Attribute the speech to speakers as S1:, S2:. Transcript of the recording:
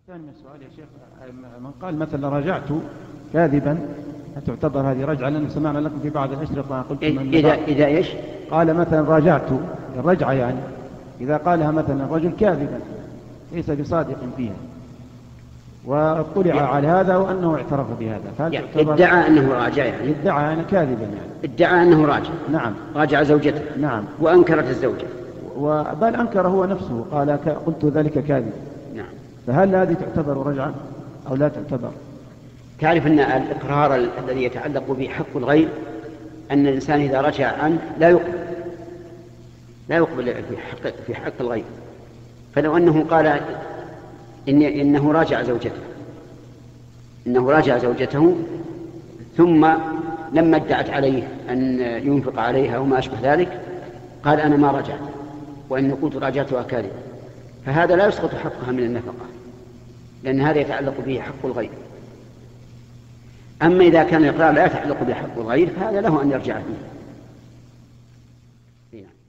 S1: الثاني من السؤال يا شيخ من قال مثلا رجعت كاذبا تعتبر هذه رجعة لأن سمعنا لكم في بعض الأشرطة قلت من
S2: إذا إذا إيش؟
S1: قال مثلا راجعت الرجعة يعني إذا قالها مثلا رجل كاذبا ليس بصادق فيها واطلع على هذا وأنه اعترف بهذا فهل
S2: يعني
S1: تعتبر-
S2: ادعى أنه راجع يعني
S1: ادعى أنا كاذبا يعني
S2: ادعى أنه راجع
S1: نعم
S2: راجع زوجته
S1: نعم
S2: وأنكرت الزوجة
S1: وبل أنكر هو نفسه قال ك- قلت ذلك كاذب
S2: نعم
S1: فهل هذه تعتبر رجعة أو لا تعتبر
S2: تعرف أن الإقرار ال- الذي يتعلق به حق الغير أن الإنسان إذا رجع عنه لا يقبل لا يقبل في حق في حق الغير فلو أنه قال إن إنه راجع زوجته إنه راجع زوجته ثم لما ادعت عليه أن ينفق عليها وما أشبه ذلك قال أنا ما رجعت وإني قلت راجعتها كاذبا فهذا لا يسقط حقها من النفقة لأن هذا يتعلق به حق الغير أما إذا كان الإقرار لا يتعلق بحق الغير فهذا له أن يرجع فيه. إي نعم.